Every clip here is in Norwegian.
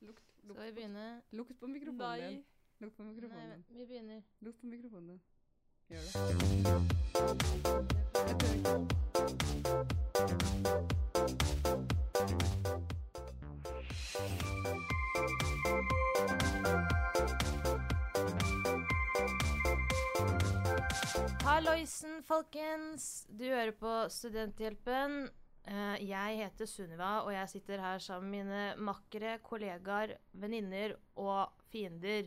Lukt, lukt, Skal vi begynne? På, lukt på mikrofonen Nei. din. Lukt på mikrofonen Nei, din. vi begynner. Lukt på mikrofonen din. Gjør det. Jeg tør ikke. Halloisen, folkens. Du hører på Studenthjelpen. Eh, Jeg heter Sunniva, og jeg sitter her sammen med mine makkere, kollegaer, venninner og fiender.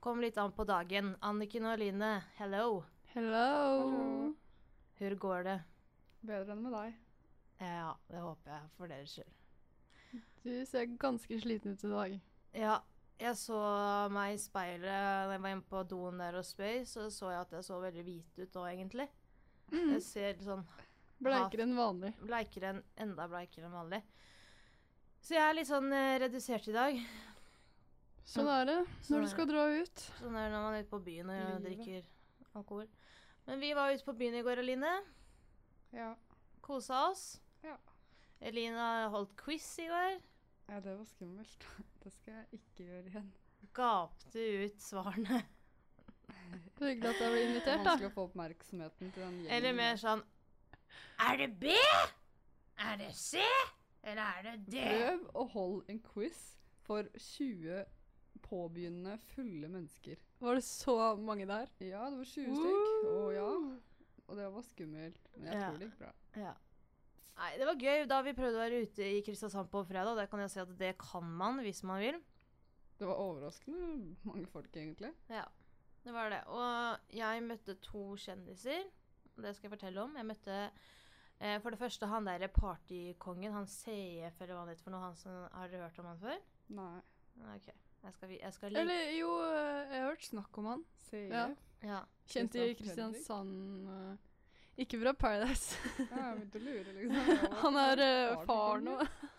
Kom litt an på dagen. Anniken og Line, hello. Hello. Hallo. Hvor går det? Bedre enn med deg. Ja, det håper jeg for deres skyld. Du ser ganske sliten ut i dag. Ja, jeg så meg i speilet da jeg var inne på doen der hos Space, så så jeg at jeg så veldig hvit ut nå, egentlig. Mm. Jeg ser sånn Bleikere enn vanlig. bleikere enn enda bleikere enn vanlig. Så jeg er litt sånn eh, redusert i dag. Sånn er det Sånn er når du skal dra ut. Sånn er det når man er ute på byen og Livet. drikker alkohol. Men vi var ute på byen i går, Eline. Ja. Kosa oss. Ja. Elina holdt quiz i går. ja, det var skummelt. Det skal jeg ikke gjøre igjen. Gapte ut svarene. Så Hyggelig at jeg ble Det er invitert, da. vanskelig å få oppmerksomheten til den gjengen. Eller mer sånn Er det B? Er det C? Eller er det D? Prøv å holde en quiz for 20 påbegynnende fulle mennesker. Var det så mange der? Ja, det var 20 stykk. Å ja. Og det var skummelt. Men jeg Ja. tror det gikk bra. Ja. Nei, det var gøy da vi prøvde å være ute i Kristiansand på fredag. Der kan jeg si at det kan man hvis man vil. Det var overraskende mange folk, egentlig. Ja, det var det. Og jeg møtte to kjendiser. Det skal jeg fortelle om. Jeg møtte eh, for det første han derre partykongen, han CF eller hva han heter for noe. Han som har dere hørt om han før? Nei. Nei, OK. Jeg skal, vi- jeg skal li- Eller jo, eh, jeg har hørt snakk om han. Se. Ja. Ja. Ja. Kjent i Kristian Kristiansand eh, Ikke fra Paradise. Jeg begynte å lure, liksom. Han er eh, Partykongen. far nå.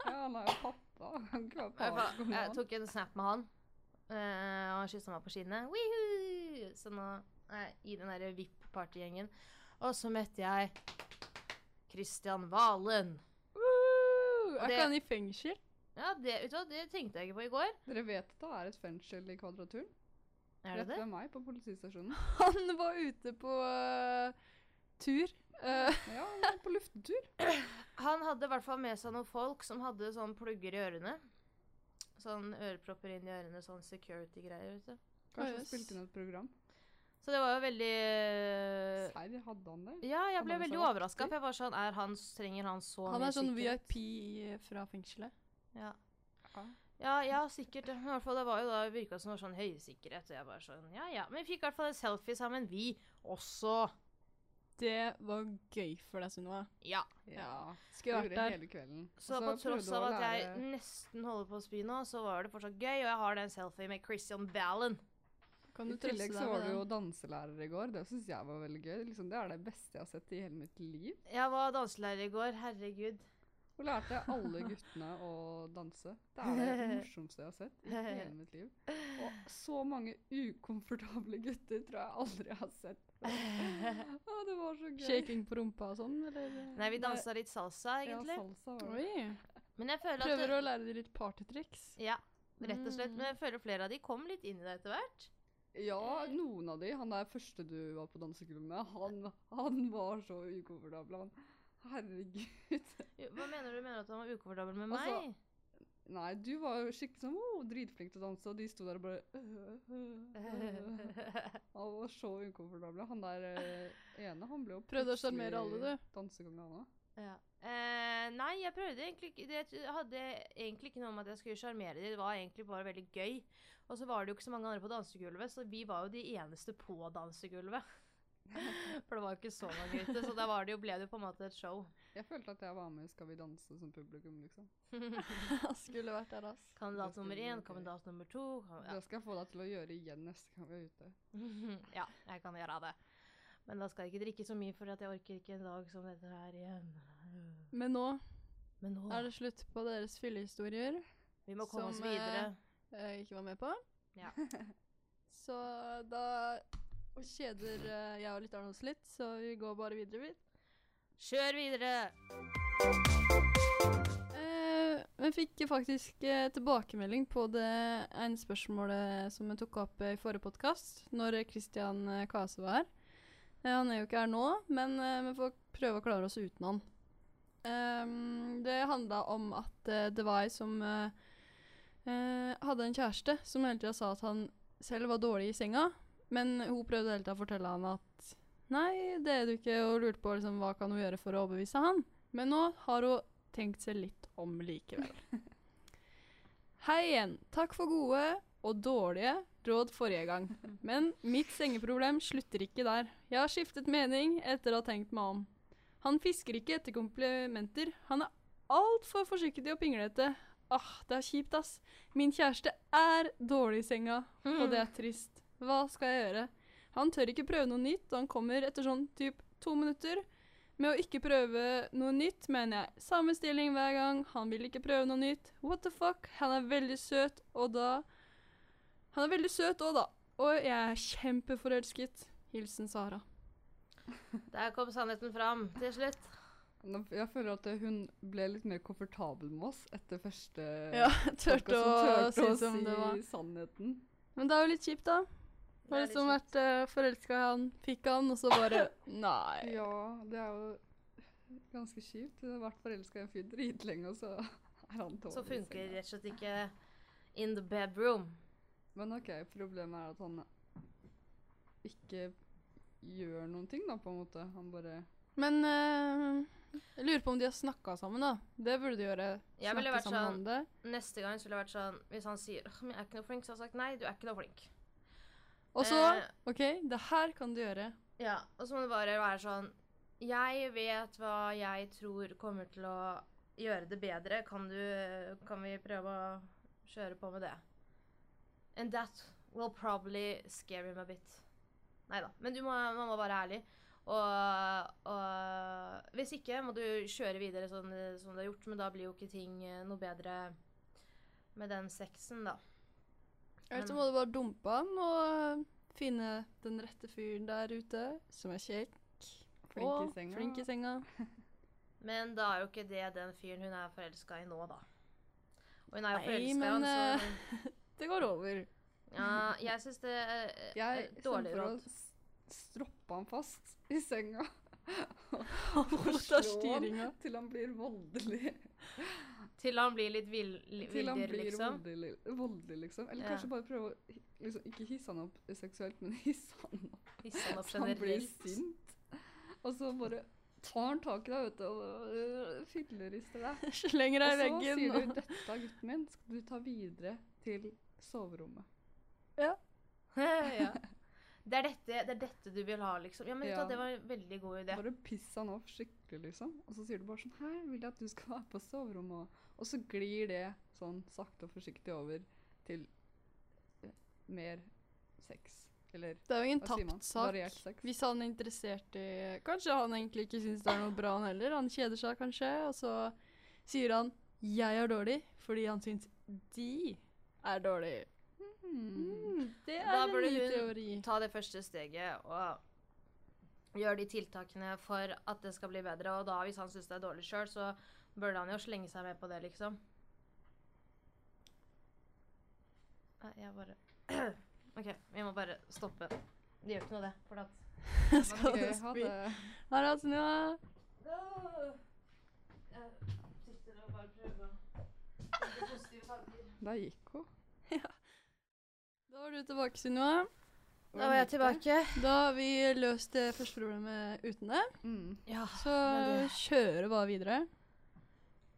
Ja, han er jo pappa. Han kan ikke være I hvert fall, partykongen. Jeg tok en snap med han, eh, og han kyssa meg på kinnet. Wihu! Så nå er jeg i den derre VIP-partygjengen. Og så møtte jeg Kristian Valen. Woo! Og Er det- ikke han i fengsel? Ja, det, vet du hva, det tenkte jeg ikke på i går. Dere vet at det er et fengsel i Kvadraturen? Er det Rett det? ved meg på politistasjonen. Han var ute på eh, tur. Eh, Ja, han er på luftetur. Han hadde i hvert fall med seg noen folk som hadde sånn plugger i ørene. Sånn ørepropper inn i ørene, sånn security-greier, vet du. Kanskje Å, han jøs. spilte inn et program. Så det var jo veldig eh, Serr, hadde han det? Ja, jeg Han ble var jo veldig så overraska, for jeg var sånn Er han Trenger han så han mye er sånn sikkerhet? VIP i- fra fengselet. Ja. Ja. Ja, ja, sikkert. Men i hvert fall, det var jo da virka som det var sånn høysikkerhet. Og jeg bare sånn, ja, ja. Men vi fikk i hvert fall en selfie sammen, vi også. Det var gøy for deg, Sunniva. Ja. ja. Skulle Gjorde vært det der. hele kvelden. Så Og på tross Altså, prøvde av å at jeg lære- nesten holder på å spy nå, så var det fortsatt gøy. Og jeg har den selfien med Christian Ballen. Kan mm, I du trøste tillegg deg så var med det jo den? danselærer i går. Det syns jeg var veldig gøy. Liksom, det er det beste jeg har sett i hele mitt liv. Jeg var danselærer i går. Herregud. Hun lærte alle guttene å danse. Det er det morsomste jeg har sett i hele mitt liv. Og så mange ukomfortable gutter tror jeg aldri jeg har sett. Å, det var så gøy. Shaking på rumpa og sånn, eller? Nei, vi dansa litt salsa, egentlig. Ja, sånn. salsa var det. Oi. Men jeg føler at Prøver det, å lære deg litt partytriks. Ja, rett og Mm. slett. Men jeg føler flere av de kom litt inn i det etter hvert. Ja, noen av de. Han der første du var på danseklubb med, han, han var så ukomfortabel, han. Herregud. Jo, Hva mener du? Mener du at han var ukomfortabel med meg? Altså, Nei, du var jo skikkelig sånn oh, dritflink til å danse, og de sto der og bare øh, øh, øh. Han var så ukomfortabel. Han der eh, ene, han ble jo Prøvde å sjarmere alle, du. dansekongen, han òg. Ja. Eh, nei, jeg prøvde egentlig ikke Det t- hadde egentlig ikke noe om at jeg skulle sjarmere dem. Det var egentlig bare veldig gøy. Og så var det jo ikke så mange andre på dansegulvet, så vi var jo de eneste på dansegulvet. For det var jo ikke så mange ute, så da var det jo, ble det jo på en måte et show. Jeg følte at jeg var med i Skal vi danse som publikum, liksom. Skulle vært der, ass. Kandidat nummer blir én, gøy. kandidat nummer to kan- ja. Det skal jeg få deg til å gjøre igjen neste gang vi er ute. ja, jeg kan gjøre det. Men da skal jeg ikke drikke så mye, for at jeg orker ikke en dag som dette her igjen. Men nå Men nå er det slutt på deres fyllehistorier Vi må komme oss som, eh, videre. jeg ikke var med på. Ja. Så da kjeder eh, jeg og lytterne oss litt, så vi går bare videre, vi. Kjør videre! Eh, Men fikk faktisk eh, tilbakemelding på det ene spørsmålet som jeg tok opp eh, i forrige podkast, når Kristian Kase var her. Eh, han er jo ikke her nå, men eh, vi får prøve å klare oss uten han. Ehm, det handla om at eh, det var ei som eh, eh, hadde en kjæreste som hele tida sa at han selv var dårlig i senga, men hun prøvde hele tida å fortelle han at nei, det er du ikke, og lurte på liksom, hva kan hun gjøre for å overbevise han. Men nå har hun tenkt seg litt om likevel. Hei igjen. Takk for gode og dårlige råd forrige gang. Men mitt sengeproblem slutter ikke der. Jeg har skiftet mening etter å ha tenkt meg om. Han fisker ikke etter komplimenter. Han er altfor forsiktig og pinglete. Ah, det er kjipt, ass. Min kjæreste er dårlig i senga, og det er trist. Hva skal jeg gjøre? Han tør ikke prøve noe nytt, og han kommer etter sånn typ to minutter med å ikke prøve noe nytt, mener jeg. Samme stilling hver gang. Han vil ikke prøve noe nytt. What the fuck? Han er veldig søt, og da Han er veldig søt òg, da. Og jeg er kjempeforelsket. Hilsen Sara. Der kom sannheten fram til slutt. Nå- Jeg føler at eh, hun ble litt mer komfortabel med oss etter første Ja, podcast, turte å, hun turte si å som det var. sannheten. Men det er jo litt kjipt, da. Det er Har litt liksom kjipt. vært uh, forelska i han, fikk han, og så bare Nei. Ja, det er jo ganske kjipt. Hun har vært forelska i en fyr dritlenge, og så er han dårlig. Så i funker senga. rett og slett ikke in the bedroom. Men OK, problemet er at han ikke gjør noen ting, da, på en måte. Han bare Men eh, jeg lurer på om de har snakka sammen, da. Det burde de gjøre. Jeg ville Snakke vært sammen sånn- om det. Neste gang så ville det vært sånn Hvis han sier «Åh, men 'jeg er ikke noe flink', så hadde jeg sagt 'nei, du er ikke noe flink'. Og så Eh, OK, det her kan du gjøre. Ja, og så må det bare være sånn Jeg vet hva jeg tror kommer til å gjøre det bedre. Kan du Kan vi prøve å kjøre på med det? And that will probably scare him a bit. Nei da. Men du må, man må være ærlig. Og, og hvis ikke må du kjøre videre sånn, eh, som du har gjort, men da blir jo ikke ting eh, noe bedre med den sexen, da. Eller så må Men- du bare dumpe han og eh, finne den rette fyren der ute som er kjekk flink og i senga. flink i senga. Men da er jo ikke det den fyren hun er forelska i nå, da. Og hun er jo Nei, forelska i men, han, eh, så Det går over. Ja, jeg syns det er, er Jeg dårlig stemmer for å råd. s- stroppe han fast i senga Hvor slå tar styringa? til han blir voldelig. Til han blir litt vill, li- Til han villdyr, blir liksom. voldelig, voldelig, liksom. Eller Ja. kanskje bare prøve å hi- liksom, ikke hisse han opp seksuelt, men hisse han opp Hisse han opp så han blir generelt. sint. Og så bare tar han tak i deg, vet du, og øh, fyllerister deg. Slenger deg i Og så veggen. sier du og- 'dette, gutten min, skal du ta videre til soverommet'. ja. det, er dette, det er dette du vil ha, liksom. Ja, men vet du Ja. hva, det var en veldig god idé. Bare piss han opp skikkelig, liksom. Og så sier du bare sånn 'Her vil jeg at du skal være på soverommet òg'. Og så glir det sånn sakte og forsiktig over til eh, mer sex. Eller Det er jo ingen hva sier man? tapt sak. Variert sex. Hvis han er interessert i Kanskje han egentlig ikke syns det er noe bra, han heller. Han kjeder seg kanskje, og så sier han 'jeg er dårlig' fordi han syns de er dårlig. Hmm. Mm, det er Da en burde ny hun- teori. Ta det første steget og gjør de tiltakene for at det skal bli bedre. Og da, hvis han syns det er dårlig sjøl, så burde han jo slenge seg med på det, liksom. Nei, jeg bare OK, vi må bare stoppe. Det gjør ikke noe, det. For at Skal Ok, du ha spy? det. Her er Sunniva. Der gikk hun. Da var du tilbake, Sunniva. Da var jeg tilbake. Da har vi løst det første problemet uten det. Mm. Ja. Så Men det- kjører bare videre.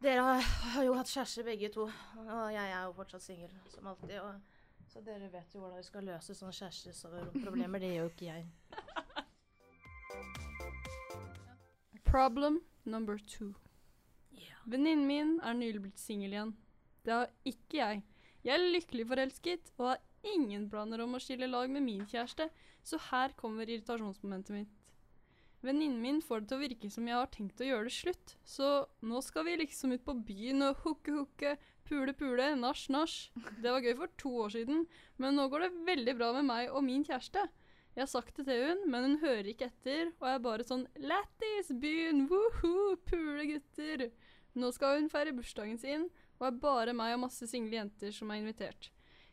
Dere har, har jo hatt kjæreste begge to, og jeg er jo fortsatt singel som alltid. Og, så dere vet jo hvordan dere skal løse sånne kjæresteproblemer. Det gjør jo ikke jeg. Problem number two. Ja. Venninnen min er nylig blitt singel igjen. Det har ikke jeg. Jeg er lykkelig forelsket og har ingen planer om å skille lag med min kjæreste, så her kommer irritasjonsmomentet mitt. Venninnen min får det til å virke som jeg har tenkt å gjøre det slutt, så nå skal vi liksom ut på byen og hooke-hooke, pule-pule, nach-nach. Det var gøy for to år siden, men nå går det veldig bra med meg og min kjæreste. Jeg har sagt det til hun, men hun hører ikke etter, og jeg er bare sånn Lættis, byen, woho, pule gutter. Nå skal hun feire bursdagen sin, og er bare meg og masse single jenter som er invitert.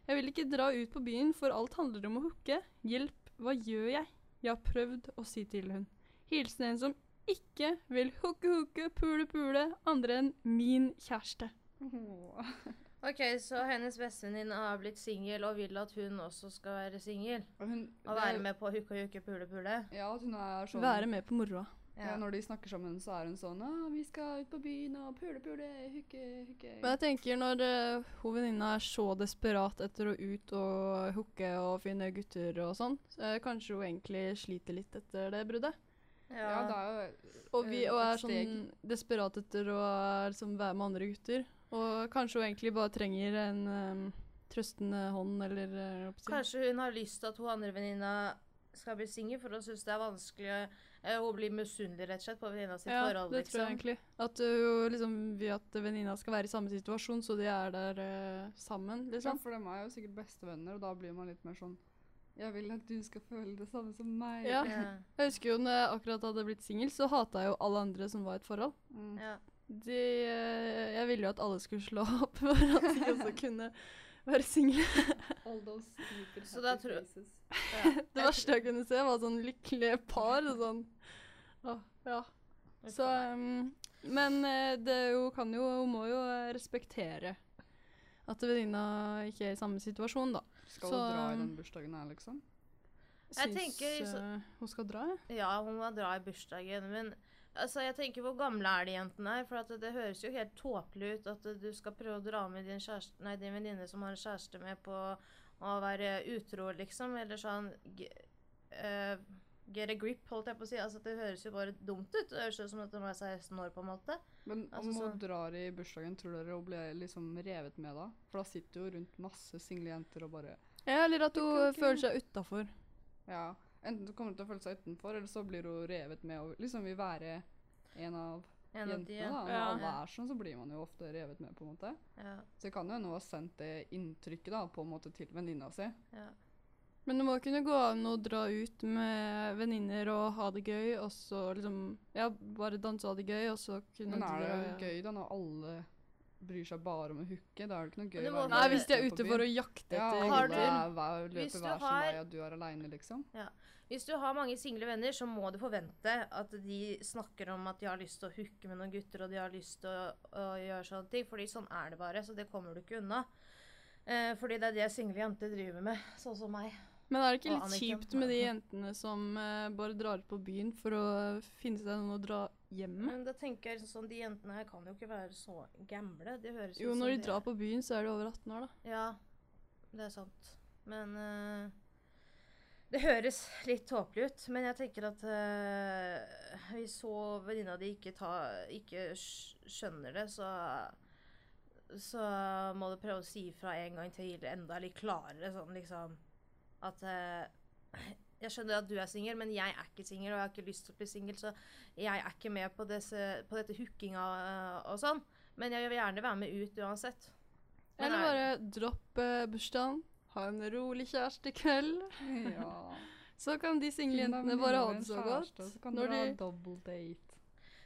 Jeg vil ikke dra ut på byen, for alt handler om å hooke. Hjelp, hva gjør jeg? Jeg har prøvd å si til hun. Hilsen en som ikke vil hooke, hooke, pule, pule, andre enn min kjæreste. Åh. Ok, Så hennes bestevenninne har blitt singel og vil at hun også skal være singel? Og Hun, Og det er- være med på hukka jukke pule pule? Ja, at hun er sånn Være med på moroa. ja. Når de snakker sammen, så er hun sånn ah, 'Vi skal ut på byen og pule, pule, hooke, Men hooke'. jeg tenker når uh, hovedvenninna er så desperat etter å ut og hooke og finne gutter og sånn, så eh, kanskje hun egentlig sliter litt etter det bruddet. Ja. Ja. det er jo Og, vi, Eh, og et er sånn desperat etter å eh, liksom, være med andre gutter. Og kanskje hun egentlig bare trenger en eh, trøstende hånd eller eh, hva skal jeg si. Kanskje hun har lyst til at hun andre venninna skal bli singel, for hun syns det er vanskelig eh, Hun blir misunnelig rett og slett på venninna sitt Ja, forhold. liksom. det tror jeg egentlig. At hun liksom vil at venninna skal være i samme situasjon, så de er der eh, sammen, ja, liksom. For dem er jo sikkert bestevenner, og da blir man litt mer sånn 'Jeg vil at du skal føle det samme som meg'. Ja. Ja, Jeg husker jo når jeg akkurat hadde blitt singel, så hata jeg jo alle andre som var i et forhold. Mm. ja. De, eh, jeg ville jo at alle skulle slå opp, for at de også kunne være single. All those stupid Så da happy tror- faces. Det verste jeg kunne se, var sånn lykkelige par. og Sånn. Åh, ja. Så, um, men eh, det er jo, kan jo, hun må jo eh, respektere at venninna ikke er i samme situasjon, da. Skal Så, du dra i um, den bursdagen her, liksom? Jeg Syns tenker så- eh, hun skal dra, jeg. Ja, hun må dra i bursdagen, men altså, jeg tenker hvor gamle er de jentene her? For at det høres jo helt tåpelig ut at du skal prøve å dra med din, kjæreste- nei, din venninne som har en kjæreste med på å være utro, liksom. Eller sånn g eh, Get a grip, holdt jeg på å si. Altså, det høres jo bare dumt ut. Det høres ut som at hun er 16 år, på en måte. Men Altså, om hun så- drar i bursdagen, tror dere hun blir liksom revet med da? For da sitter hun rundt masse single jenter og bare Ja, eller at hun kan ikke- føler seg utafor. Ja. Enten så kommer hun til å føle seg utenfor, eller så blir hun revet med og liksom vil være en av En av de, jentene. da. Når Ja. alle er sånn, så blir man jo ofte revet med, på en måte. Ja, Så det kan jo hende hun har sendt det inntrykket da, på en måte til venninna si. ja. Men det må kunne gå an å dra ut med venninner og ha det gøy, og så liksom Ja, bare danse og ha det gøy, og så kunne Men de er dra- det gøy da, når alle bryr seg bare om å hooke? Da er det ikke noe gøy det å må være Nei, med hvis de er jentene på ute for å byen. jakte ja, etter Har alle du- gutter. er, hver- Hvis løper du hver sin har- vei, og du er aleine, liksom. Hvis du har mange single venner, så må du forvente at de snakker om at de har lyst til å hooke med noen gutter, og de har lyst til å, å gjøre sånne ting. Fordi sånn er det bare, så det kommer du ikke unna. Eh, fordi det er det single jenter driver med, sånn som meg. Men er det ikke Og litt Anniken. kjipt med de jentene som eh, bare drar ut på byen for å finne seg noen å dra hjem med? Men da tenker jeg sånn, de jentene her kan jo ikke være så gamle. Det høres ut Sånn Jo, som når de det- drar på byen, så er de over 18 år, da. Ja, det er sant. Men eh, Det høres litt tåpelig ut, men jeg tenker at eh, hvis så venninna di ikke, ta, ikke skj- skjønner det, så så må du prøve å si fra en gang til enda litt klarere, sånn liksom At eh, Jeg skjønner at du er singel, men jeg er ikke singel, og jeg har ikke lyst til å bli singel, så jeg er ikke med på, disse, på dette hookinga eh, og sånn. Men jeg vil gjerne være med ut uansett. Men Eller er- bare dropp eh, bursdagen, ha en rolig kjærestekveld. Ja. Så kan de single Finn jentene deg venninne bare ha med det en så kjæreste, godt. Så kan Når dere ha de double date.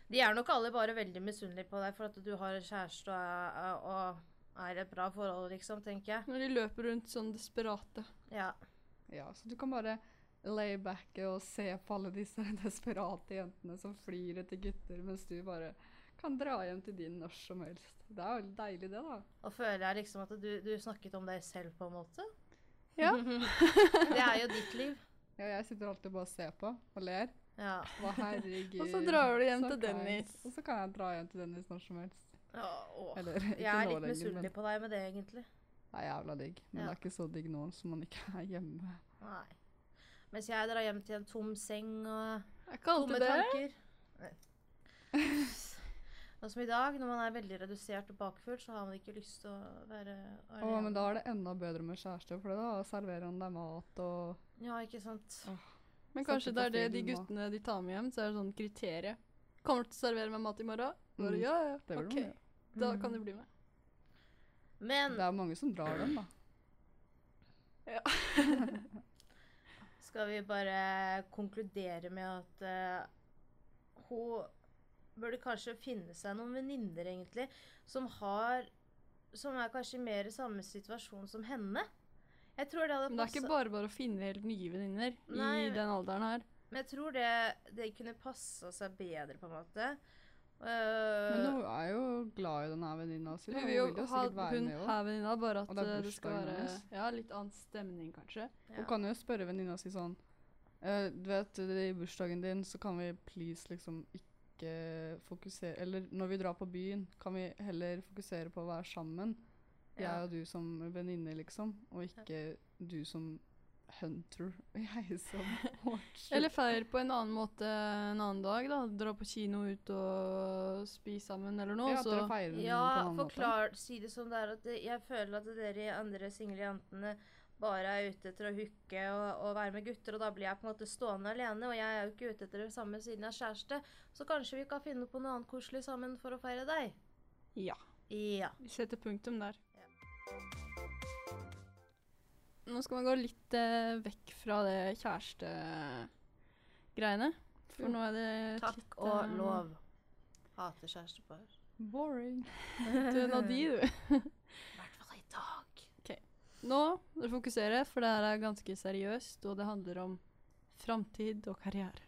De er nok alle bare veldig misunnelige på deg for at du har kjæreste og er, og er i et bra forhold, liksom, tenker jeg. Når de løper rundt sånn desperate. Ja. Ja, så du kan bare lay back og se på alle disse desperate jentene som flyr etter gutter, mens du bare kan dra hjem til din når som helst. Det er jo deilig det, da. Og føler jeg liksom at du, du snakket om deg selv, på en måte. Ja. det er jo ditt liv. Ja, jeg sitter alltid bare og ser på og ler. Ja. Å, herregud. Og så drar du hjem så til kleint. Dennis. Og så kan jeg dra hjem til Dennis når som helst. Åh, åh. Eller Jeg er ikke nå litt lenger, men misunnelig på deg med det, egentlig. det er jævla digg. Ja. Men det er ikke så digg nå som man ikke er hjemme. Nei. Mens jeg drar hjem til en tom seng og Er ikke tomme alltid det. tanker. Nei. Og som i dag, når man er veldig redusert og bakfull, så har man ikke lyst til å være Å, men da er det enda bedre med kjæreste, for da serverer han deg mat og Ja, ikke sant. Men Sette kanskje det på er det de film og- guttene de tar med hjem, så er det sånn kriterium. Kommer du til å servere meg mat i morgen? Bare, Mm, ja, ja, Det vil ok. man gjøre. Da Mm. kan du bli med. Men Det er mange som drar den, da. Skal vi bare konkludere med at eh, hun burde kanskje finne seg noen venninner, egentlig, som har som er kanskje mer i samme situasjon som henne. Jeg tror det hadde Men det er ikke passet- bare bare å finne helt nye venninner Nei, i men- den alderen her. Men jeg tror det, det kunne passa seg bedre, på en måte. Men Uh, hun er jo glad i denne venninna si. Hun da. Hun vil jo jo ha sikkert være hun med også. her venninna, bare at Og det er eh, det skal bursdagen være hennes. ja, litt annen stemning, kanskje. Eh, ja. Hun kan jo spørre venninna si sånn «Eh, Du vet, i bursdagen din så kan vi please liksom ikke fokusere Eller når vi drar på byen, kan vi heller fokusere på å være sammen. Ja. Jeg og du som venninne, liksom. Og ikke du som hunter, og jeg som watcher. Eller feir på en annen måte en annen dag, da. Dra på kino ut og spise sammen eller noe. ja, at så. dere feirer den ja, på en annen måte. forklar, si det som det er. At det- jeg føler at dere andre single jentene bare er ute etter å hooke og, og være med gutter, og da blir jeg på en måte stående alene. Og jeg er jo ikke ute etter det samme siden jeg er kjæreste, så kanskje vi kan finne på noe annet koselig sammen for å feire deg. Ja. Ja. Vi setter punktum der. Ja. Nå skal man gå litt eh, vekk fra det kjærestegreiene. For nå er det Mm. Takk litt, og eh, lov. Hater kjærestepar. Boring. Du er en av de, du. I hvert fall i dag. Nå må dere fokusere, for det her er ganske seriøst, og det handler om framtid og karriere.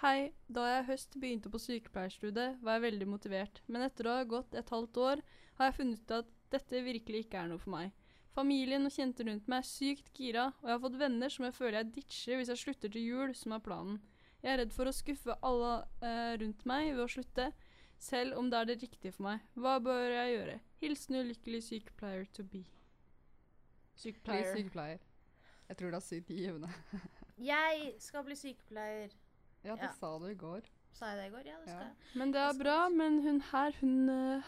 Hei, da jeg i høst begynte på sykepleierstudiet, var jeg veldig motivert, men etter å ha gått et halvt år, har jeg funnet ut at dette virkelig ikke er noe for meg. Familien og kjente rundt meg er sykt gira, og jeg har fått venner som jeg føler jeg ditcher hvis jeg slutter til jul, som er planen. Jeg er redd for å skuffe alle eh, rundt meg ved å slutte, selv om det er det riktige for meg. Hva bør jeg gjøre? Hilsen ulykkelig sykepleier to be. Bli Sykepleier. sykepleier. Jeg tror det er sykt givende. Jeg skal bli sykepleier. Ja, det Ja. sa du i går. Sa jeg det i går? Ja, det skal Ja. jeg. Men det er bra, men hun her, hun eh,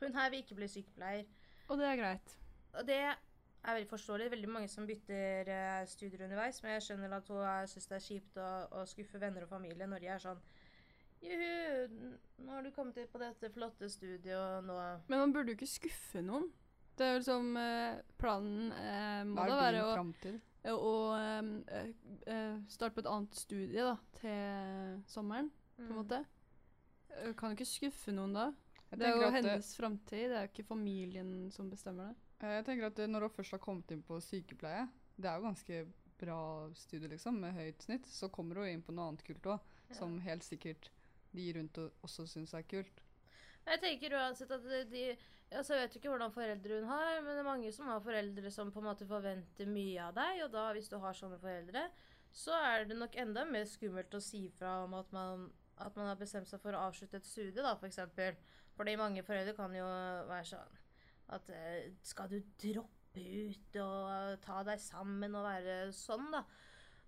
Hun her vil ikke bli sykepleier. Og det er greit. Og det er veldig forståelig. Veldig mange som bytter eh, studier underveis. Men jeg skjønner at hun syns det er kjipt å, å skuffe venner og familie når de er sånn Juhu, n- nå har du kommet inn på dette flotte studiet, og nå Men man burde jo ikke skuffe noen. Det er jo liksom eh, Planen eh, må Hva da er være din å, framtid? å eh, eh, starte på et annet studie da, til eh, sommeren, på en måte. Eh, Kan jo ikke skuffe noen da. Mm. Jeg det er tenker jo at, eh, hennes framtid, det er jo ikke familien som bestemmer det. Eh, Jeg tenker at eh, Når hun først har kommet inn på sykepleie, det er jo ganske bra studie liksom, med høyt snitt, så kommer hun inn på noe annet kult òg, som helt sikkert de rundt og- også syns er kult. Jeg tenker uansett at de- de altså Jeg vet jo ikke hvordan foreldre hun har, men det er mange som har foreldre som på en måte forventer mye av deg, og da, hvis du har sånne foreldre, så er det nok enda mer skummelt å si fra om at man, at man har bestemt seg for å avslutte et studie, da, for eksempel. Fordi mange foreldre kan jo være sånn at eh, skal du droppe ut og ta deg sammen og være sånn, da.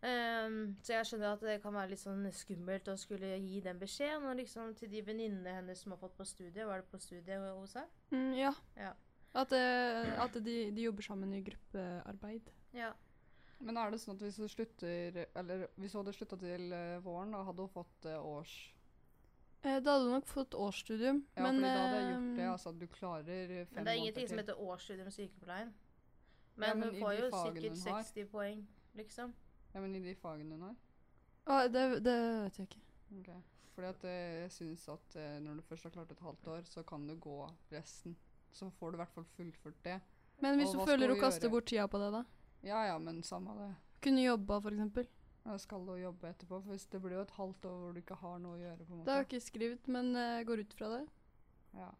Ehm, så jeg skjønner at det kan være litt sånn skummelt å skulle gi den beskjeden. Og liksom til de venninnene hennes som har fått på studiet. Var det på studiet hos deg? Mm, ja. Ja. At, eh, at de, de jobber sammen i gruppearbeid. Ja. Men er det sånn at hvis hun slutter, eller hvis hun hadde slutta til eh, våren, da hadde hun fått eh, års... Eh, da hadde du nok fått årsstudium, Ja, men fordi da hadde jeg gjort det. eh, altså at Du klarer eh, fem Men det er ingenting som måneder til. heter årsstudium i sykepleien. Ja, Men men hun i får de jo fagene sikkert hun har. 60 poeng, liksom. Ja, men i de fagene hun har. ah, det, det vet jeg ikke. Ok. Fordi at eh, jeg syns at eh, når du først har klart et halvt år, så kan du gå resten. Så får du i hvert fall fullført det. Men hvis Og du hva skal føler hun å kaste gjøre? bort tida på det, da? Ja ja, men samme det. Kunne jobba, f.eks. Jeg skal jo jobbe etterpå, for hvis det blir jo et halvt år hvor du ikke har noe å gjøre. på Det en måte. har jeg ikke skrevet, men eh, går ut fra det. Ja.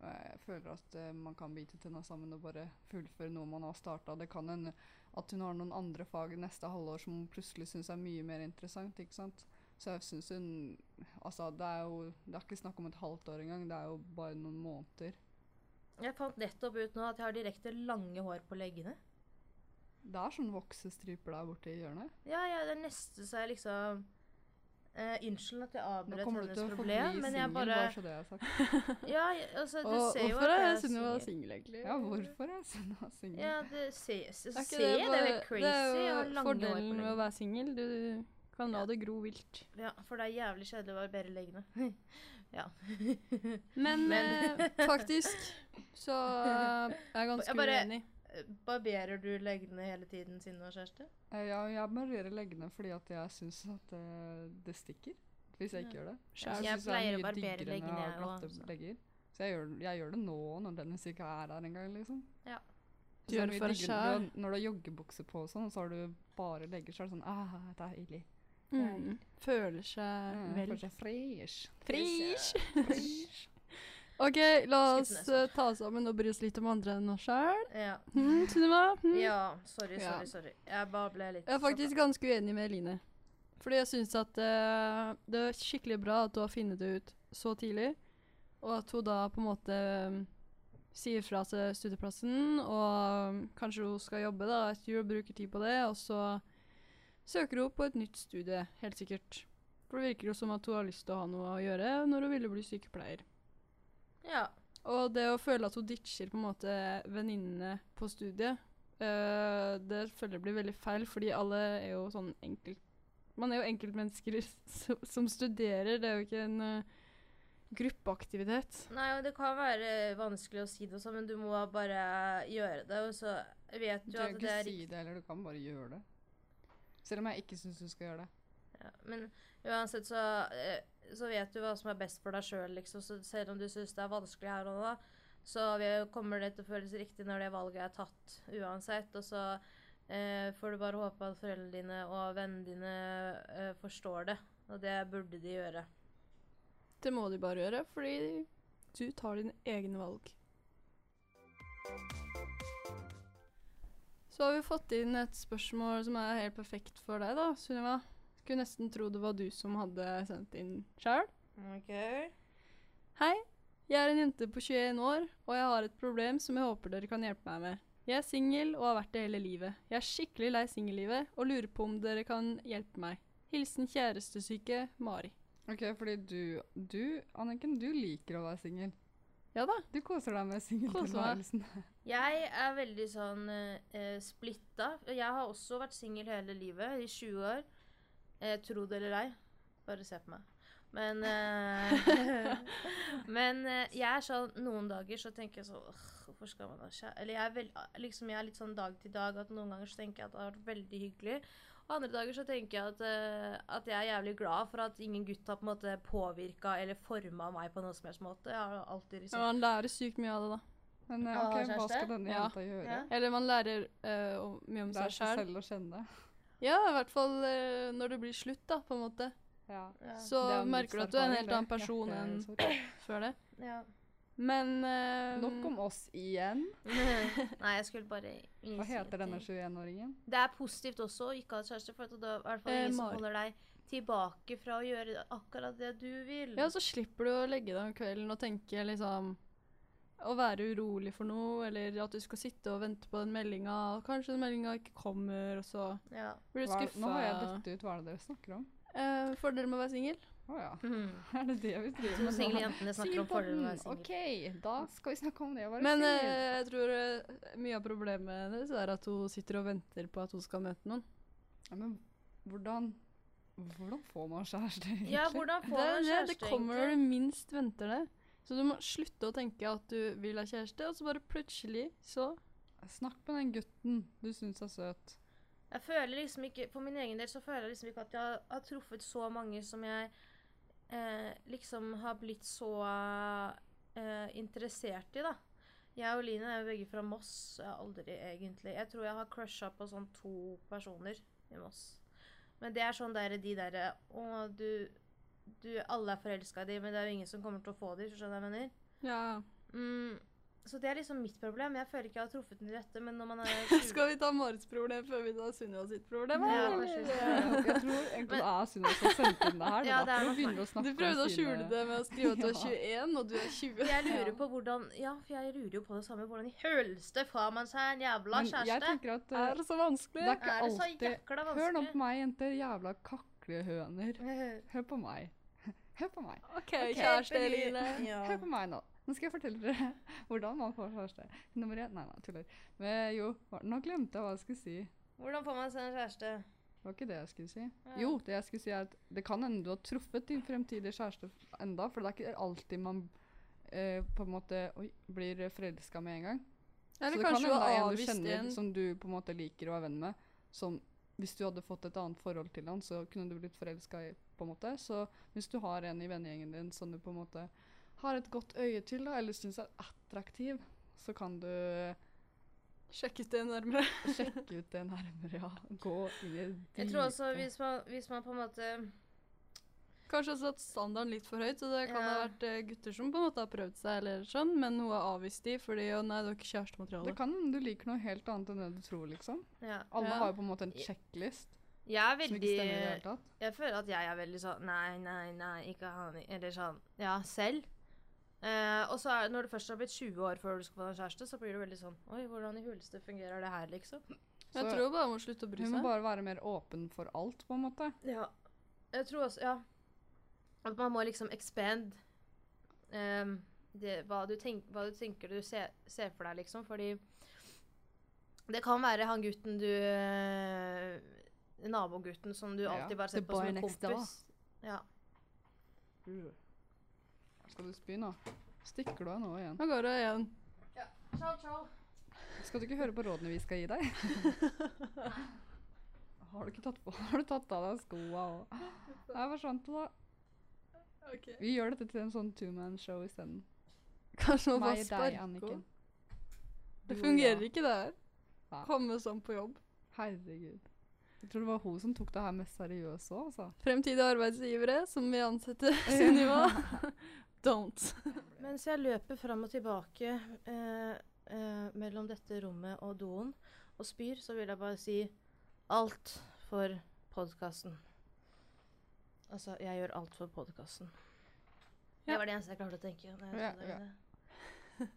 Jeg føler at eh, man kan bite tenna sammen og bare fullføre noe man har starta. Det kan hende at hun har noen andre fag neste halvår som hun plutselig syns er mye mer interessant. ikke sant? Så jeg syns hun Altså, det er jo det er ikke snakk om et halvt år engang, det er jo bare noen måneder. Jeg fant nettopp ut nå at jeg har direkte lange hår på leggene. Det er sånn voksestriper der borte i hjørnet. Ja, ja, det er neste så jeg liksom eh, Unnskyld at jeg Nå avbrøt kommer du hennes til å forbli problem, men jeg singel, bare bare så det er sagt. Ja, jeg- altså, du Og ser jo hvorfor at er jeg Sunniva singel. singel, egentlig? Ja, hvorfor er Sunna singel? Ja, det ser se, Er ikke det, det er jo bare- helt crazy. det er jo jeg har lange hår på fordelen med å leggene. være singel. Du kan la det gro vilt. Ja, for det er jævlig kjedelig å barbere leggene. ja. Men, Men- eh, faktisk så eh, er jeg ganske Jeg bare- uenig. Barberer du leggene hele tiden siden du har kjæreste? Eh, Ja, jeg barberer leggene fordi at jeg syns at eh, det stikker hvis jeg ikke gjør det. Skjær. Jeg Jeg synes det er pleier å mye barbere diggere når leggene, jeg har jeg glatte også. legger. Så jeg gjør, jeg gjør det nå når Dennis ikke er her engang, liksom. Ja. Så Du gjør er det mye for deg diggere selv. når du har- Når du har joggebukse på og sånn, og så har du bare legger, så er det sånn ah, deilig. Mm. Føler seg Mm, vel. føler seg fresh. Frisk! Fresh. OK, la oss Skutt eh, ta oss sammen og bry oss litt om andre enn oss sjøl. Ja. Mm, Sunniva? Mm. ja. Sorry, Ja. sorry, sorry. Jeg bare ble litt sånn. Jeg er faktisk ganske uenig med Eline. Fordi jeg syns at eh, det er skikkelig bra at hun har funnet det ut så tidlig, og at hun da på en måte mm, sier fra til studieplassen, og mm, kanskje hun skal jobbe da et jul, bruker tid på det, og så søker hun på et nytt studie, helt sikkert. For det virker jo som at hun har lyst til å ha noe å gjøre når hun ville bli sykepleier. Ja. Og det å føle at hun ditcher på en måte venninnene på studiet, øh, det føler jeg blir veldig feil, fordi alle er jo sånn enkelt... Man er jo enkeltmennesker som, som studerer, det er jo ikke en øh, gruppeaktivitet. Nei, og det kan være vanskelig å si det også, men du må bare gjøre det. Og så vet Du du trenger at det ikke er si det heller, du kan bare gjøre det. Selv om jeg ikke syns du skal gjøre det. Ja, men uansett så, eh, så vet du hva som er best for deg sjøl, liksom. Så selv om du syns det er vanskelig her og nå, så vi- kommer det til å føles riktig når det valget er tatt uansett. Og så eh, får du bare håpe at foreldrene dine og vennene dine eh, forstår det. Og det burde de gjøre. Det må de bare gjøre, fordi du tar dine egne valg. Så har vi fått inn et spørsmål som er helt perfekt for deg da, Sunniva. Skulle nesten tro det var du som hadde sendt inn sjøl. Ok. Hei, jeg er en jente på 21 år, og jeg har et problem som jeg håper dere kan hjelpe meg med. Jeg er singel og har vært det hele livet. Jeg er skikkelig lei singellivet og lurer på om dere kan hjelpe meg. Hilsen kjærestesyke Mari. Ok, fordi du, du Anniken, du liker å være singel. Ja da. Du koser deg Koser med meg. singeltilværelsen. Jeg er veldig sånn eh, splitta. Jeg har også vært singel hele livet, i 20 år. Eh, tro det eller ei, bare se på meg. Men eh, Men eh, jeg er sånn noen dager så tenker jeg sånn «Åh, Hvorfor skal man ha kjære...» Eller jeg er, vel, liksom, jeg er litt sånn dag til dag at noen ganger så tenker jeg at det har vært veldig hyggelig. Og andre dager så tenker jeg at, eh, at jeg er jævlig glad for at ingen gutt har på en måte påvirka eller forma meg på noen som helst måte. Jeg har alltid Men liksom man lærer sykt mye av det, da. Men eh, Å, ok, hva kjæreste? skal denne Ja. jenta gjøre? Ja. Eller man lærer eh, om- mye om Lære seg seg sjøl. selv å kjenne. Ja, i hvert fall eh, når det blir slutt, da, på en måte. Ja. Ja. Så Det er en merker du at du er en livserfaring, helt det. annen person Ja, enn det er jo før det. ja. Men eh, så- Nok om oss igjen. Mhm. Nei, jeg skulle bare Hva heter denne 21-åringen? Det er positivt også å ikke ha kjæreste, for at da er det i hvert fall Eh, ingen som Mari. holder deg tilbake fra å gjøre akkurat det du vil. Ja, så slipper du å legge deg om kvelden og tenke liksom Å være urolig for noe, eller at du skal sitte og vente på den meldinga, og kanskje den meldinga ikke kommer, og så Ja. blir du Hva- skuffa. Nå har jeg døtt ut. Hva er det dere snakker om? Eh, fordelen med å være singel? Å ja. Mm. Er det det vi driver To med single jentene snakker om fordelen med å være Singelpodden. singel. OK, da skal vi snakke om det å være Men eh, singel. jeg tror eh, mye av problemet hennes er at hun sitter og venter på at hun skal møte noen. Ja, men hvordan Hvordan får man kjæreste, egentlig? Ja, hvordan Det, får man er det, det kjæreste, kommer når egentlig? du minst venter det. Så du må slutte å tenke at du vil ha kjæreste, og så bare plutselig så Snakk med den gutten du syns er søt. Jeg føler liksom ikke, For min egen del så føler jeg liksom ikke at jeg har, har truffet så mange som jeg eh, liksom har blitt så eh, interessert i, da. Jeg og Line er jo begge fra Moss. så Jeg har aldri egentlig Jeg tror jeg har crusha på sånn to personer i Moss. Men det er sånn der de derre Å, du, du Alle er forelska i de, men det er jo ingen som kommer til å få de, hvis du skjønner hva jeg mener? Ja. Mm, så det er liksom mitt problem. Jeg føler ikke jeg har truffet den rette, men når man er 20 Skal vi ta Marits problem før vi tar Sunniva sitt problem? Ja, eller? kanskje vi skal- Jeg jeg tror egentlig det er Sunniva som sendte inn det her. Ja, det er det er derfor nok hun begynner å snakke Du prøvde om å skjule sine- det med å skrive at du er Ja. 21, og du er 20. Jeg lurer Ja. på hvordan Ja, for jeg lurer jo på det samme. Hvordan i høleste får man seg en jævla Men jeg kjæreste? tenker at Det eh, er så vanskelig. det er ikke Er det så alltid jækla Hør nå på vanskelig? meg, jenter. Jævla kaklehøner. Hør på meg. Hør på meg. OK, kjæreste Eline. Ja. Hør på meg nå. Nå skal jeg fortelle dere hvordan man får kjæreste. Nummer én Nei, nei, tuller. Men jo, hva- nå glemte jeg hva jeg skulle si. Hvordan får man seg en kjæreste? Det var ikke det jeg skulle si. Ja. Jo, det jeg skulle si er at det kan hende du har truffet din fremtidige kjæreste f- enda, for det er ikke alltid man eh, på en måte oi, blir forelska med en gang. Eller så det kanskje kan hun hende har det er en du avvist kjenner en. som du på en måte liker å være venn med, som hvis du hadde fått et annet forhold til han, så kunne du blitt forelska i, på en måte. Så hvis du har en i vennegjengen din som du på en måte har et godt øye til, da, eller syns er attraktiv, så kan du Sjekk ut det nærmere. sjekke ut det nærmere, ja. Gå i det Jeg tror også dype. hvis man, hvis man på en måte Kanskje også satt standarden litt for høyt, så det kan ha Ja. vært eh, gutter som på en måte har prøvd seg, eller sånn, men hun har avvist de fordi å nei, det var ikke kjærestemateriale. Det kan hende du liker noe helt annet enn det du tror, liksom. ja. Alle Ja. har jo på en måte en checklist Jeg er som ikke veldig stemmer i det hele tatt. Jeg føler at jeg er veldig sånn Nei, nei, nei, ikke han Eller sånn Ja, selv. Eh, og så er, når du først har blitt 20 år før du skal få deg kjæreste, så blir du veldig sånn Oi, hvordan i huleste fungerer det her, liksom? Jeg Så tror bare hun må slutte å bry Hun må seg. bare være mer åpen for alt, på en måte. Ja. Jeg tror også Ja. At man må liksom expand ehm, det, hva, du tenk, hva du tenker du ser, ser for deg, liksom. Fordi det kan være han gutten du eh, Nabogutten som du Ja, alltid bare the ser på som boy en next kompis. Ja. Uh. Skal du spy nå? Stikker du av nå igjen? Nå går hun igjen. Ciao, ciao. Skal du ikke høre på rådene vi skal gi deg? Har du ikke tatt på Har du tatt av deg skoa òg? Der forsvant det, da. Vi gjør dette til en sånn two man show isteden. Kanskje hun Meg, bare deg, sparker Anniken. henne. Det Du og fungerer jeg. ikke, det her. Nei. Komme sånn på jobb. Herregud. Jeg tror det var hun som tok det her mest seriøst òg, altså. Fremtidige arbeidsgivere som vil ansette Sunniva. Don't. Mens jeg løper fram og tilbake eh, eh, mellom dette rommet og doen og spyr, så vil jeg bare si alt for podkasten. Altså, jeg gjør alt for podkasten. Ja. Det var det eneste jeg klarte å tenke. Når jeg Ja, så det, ja.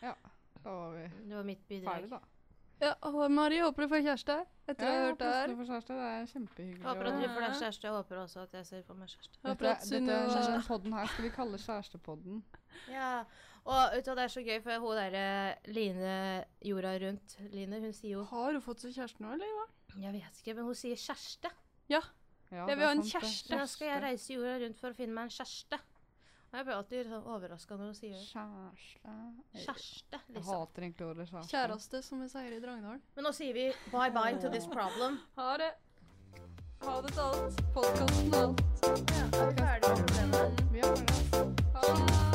Da var vi det var mitt bidrag. ferdig, da. Ja, og Marie håper du får kjæreste etter å ha hørt håper det også her. du får kjæreste. Det er kjempehyggelig. Jeg håper at å- du får deg kjæreste. Jeg håper også at jeg ser for meg kjæreste. Håper Dette, at dette, Sunniva denne podden her skal vi kalle Kjærestepodden. Ja. Og vet du hva, det er så gøy, for hun derre Line jorda rundt Line, hun sier jo Har hun fått seg kjæreste nå, eller? Jeg vet ikke, men hun sier kjæreste. Ja, Jeg det vil er ha en sant, det. kjæreste. Da skal jeg reise jorda rundt for å finne meg en kjæreste. Og jeg blir alltid sånn overraska når hun sier det. Kjæreste Kjæreste, Jeg liksom. hater egentlig ordet kjæreste. Kjæreste, som vi sier i Drangedal. Men nå sier vi bye bye to this problem. Ha det. Ha det til alt. Podkasten og alt. Ja, er vi ferdig med problemet? Vi har det. Ha det.